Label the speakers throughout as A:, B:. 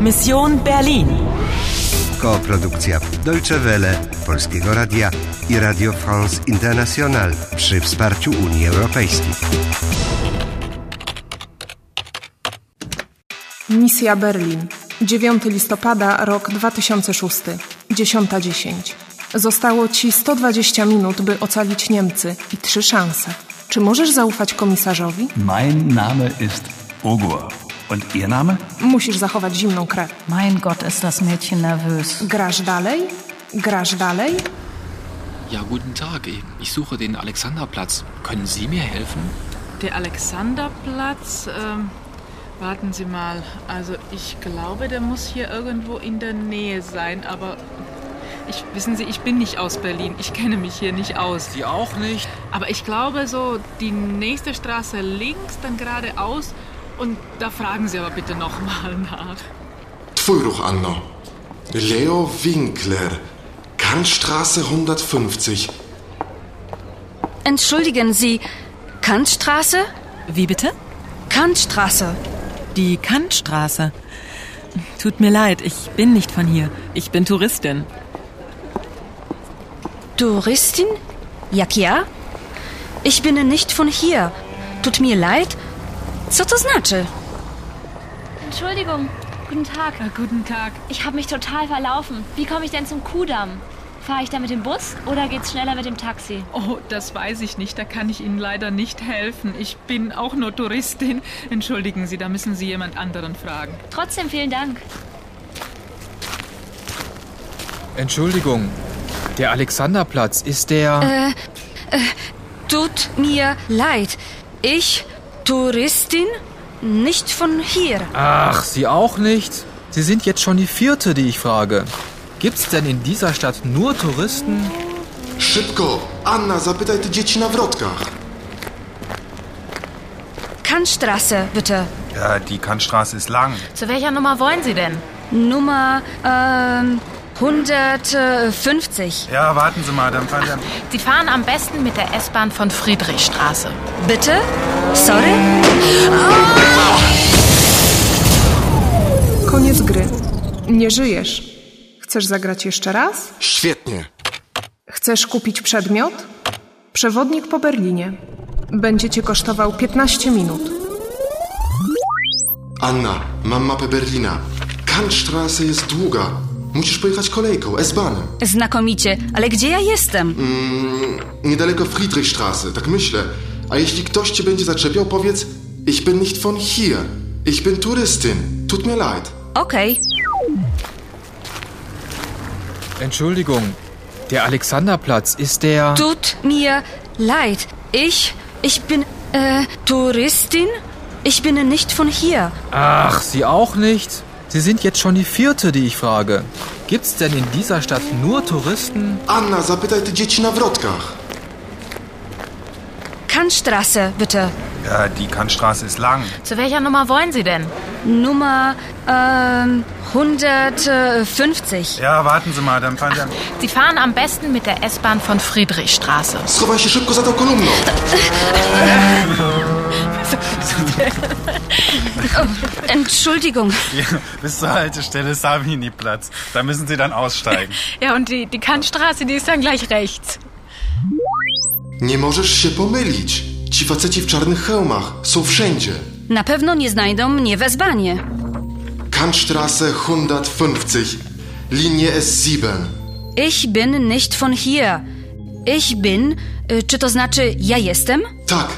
A: Mission Berlin.
B: Koprodukcja Deutsche Welle, Polskiego Radia i Radio France International przy wsparciu Unii Europejskiej.
C: Misja Berlin. 9 listopada, rok 2006. 10.10. Zostało Ci 120 minut, by ocalić Niemcy i trzy szanse. Czy możesz zaufać komisarzowi?
D: Mein Name ist Ogur. Und Ihr Name?
C: Musisz zachować zimną krew.
E: Mein Gott, ist das Mädchen nervös.
C: Grasz dalej? Grasz dalej?
F: Ja, guten Tag. Ich suche den Alexanderplatz. Können Sie mir helfen?
G: Der Alexanderplatz, ähm, warten Sie mal. Also ich glaube, der muss hier irgendwo in der Nähe sein, aber ich wissen Sie, ich bin nicht aus Berlin. Ich kenne mich hier nicht aus.
F: Sie auch nicht?
G: Aber ich glaube so die nächste Straße links, dann geradeaus und da fragen Sie aber bitte nochmal nach.
H: Twój ruch, Anno. Leo Winkler, Kantstraße 150.
I: Entschuldigen Sie, Kantstraße?
A: Wie bitte?
I: Kantstraße.
A: Die Kantstraße. Tut mir leid, ich bin nicht von hier. Ich bin Touristin.
I: Touristin? Jak ja? Ich bin nicht von hier. Tut mir leid. Co to znaczy?
J: Entschuldigung, guten Tag.
G: Äh, guten Tag.
J: Ich habe mich total verlaufen. Wie komme ich denn zum Kudamm? Fahre ich da mit dem Bus oder geht's schneller mit dem Taxi?
G: Oh, das weiß ich nicht. Da kann ich Ihnen leider nicht helfen. Ich bin auch nur Touristin. Entschuldigen Sie, da müssen Sie jemand anderen fragen.
J: Trotzdem vielen Dank.
K: Entschuldigung, der Alexanderplatz ist der.
I: Tut mir leid. Ich, Touristin, nicht von hier.
K: Ach, Sie auch nicht? Sie sind jetzt schon die vierte, die ich frage. Gibt's denn in dieser Stadt nur Touristen?
H: Szybko! Anna, zapytaj te dzieci na wrotkach.
I: Kantstraße, bitte.
L: Ja, Äh, die Kantstraße ist lang.
E: Zu welcher Nummer wollen Sie denn?
I: Nummer ähm, 150.
L: Ja, warten Sie mal, dann fahren wir...
E: Sie fahren am besten mit der S-Bahn von Friedrichstraße.
I: Bitte? Sorry?
C: Koniec gry. Nie żyjesz. Chcesz zagrać jeszcze raz?
H: Świetnie.
C: Chcesz kupić przedmiot? Przewodnik po Berlinie. Będzie cię kosztował 15 minut.
H: Anna, mam mapę Berlina. Kantstraße jest długa. Musisz pojechać kolejką, S-Bahnem.
I: Znakomicie, ale gdzie ja jestem?
H: Niedaleko Friedrichstraße, tak myślę. A jeśli ktoś cię będzie zaczepiał, powiedz Ich bin nicht von hier. Ich bin Touristin. Tut mir leid.
I: Okej.
K: Entschuldigung, der Alexanderplatz ist der.
I: Tut mir leid. Ich, ich bin äh, Touristin. Ich bin nicht von hier.
K: Ach, Sie auch nicht? Sie sind jetzt schon die vierte, die ich frage. Gibt's denn in dieser Stadt nur Touristen?
H: Anna, zapytaj te dzieci na wrotkach.
I: Kantstraße, bitte.
L: Ja, die Kantstraße ist lang.
E: Zu welcher Nummer wollen Sie denn?
I: Nummer ähm, 150.
L: Ja, warten Sie mal, dann fahren wir...
E: Sie fahren am besten mit der S-Bahn von Friedrichstraße.
H: Schowaj się szybko za tą kolumną.
I: Entschuldigung.
L: Bis zur Haltestelle Savini-Platz. Da müssen Sie dann aussteigen.
E: Ja, und die, die Kantstraße, die ist dann gleich rechts.
H: Nie możesz się pomylić. Ci faceci w czarnych hełmach są wszędzie.
I: Na pewno nie znajdą mnie wezwanie.
H: Kantstraße 150, linie S7.
I: Ich bin nicht von hier. Ich bin, y, czy to znaczy ja jestem?
H: Tak,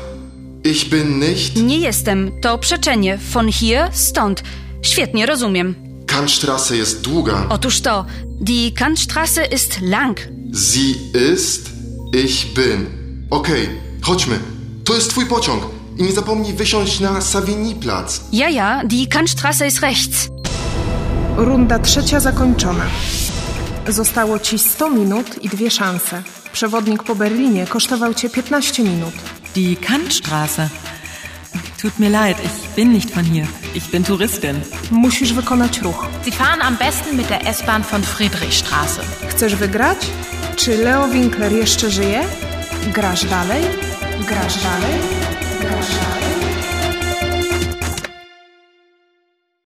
H: ich bin nicht
I: Nie jestem, to przeczenie von hier, stąd. Świetnie, rozumiem.
H: Kantstraße jest długa.
I: Otóż to, die Kantstraße ist lang.
H: Sie ist, ich bin. Okej, chodźmy. To jest twój pociąg. I nie zapomnij wysiąść na Savigny-Plac.
I: Ja, ja, die Kantstraße ist rechts.
C: Runda trzecia zakończona. Zostało ci 100 minut i dwie szanse. Przewodnik po Berlinie kosztował cię 15 minut.
A: Die Kantstraße. Tut mir leid, ich bin nicht von hier. Ich bin Touristin.
C: Musisz wykonać ruch.
E: Sie fahren am besten mit der S-Bahn von Friedrichstraße.
C: Chcesz wygrać? Czy Leo Winkler jeszcze żyje? Grasz dalej? Grasz dalej?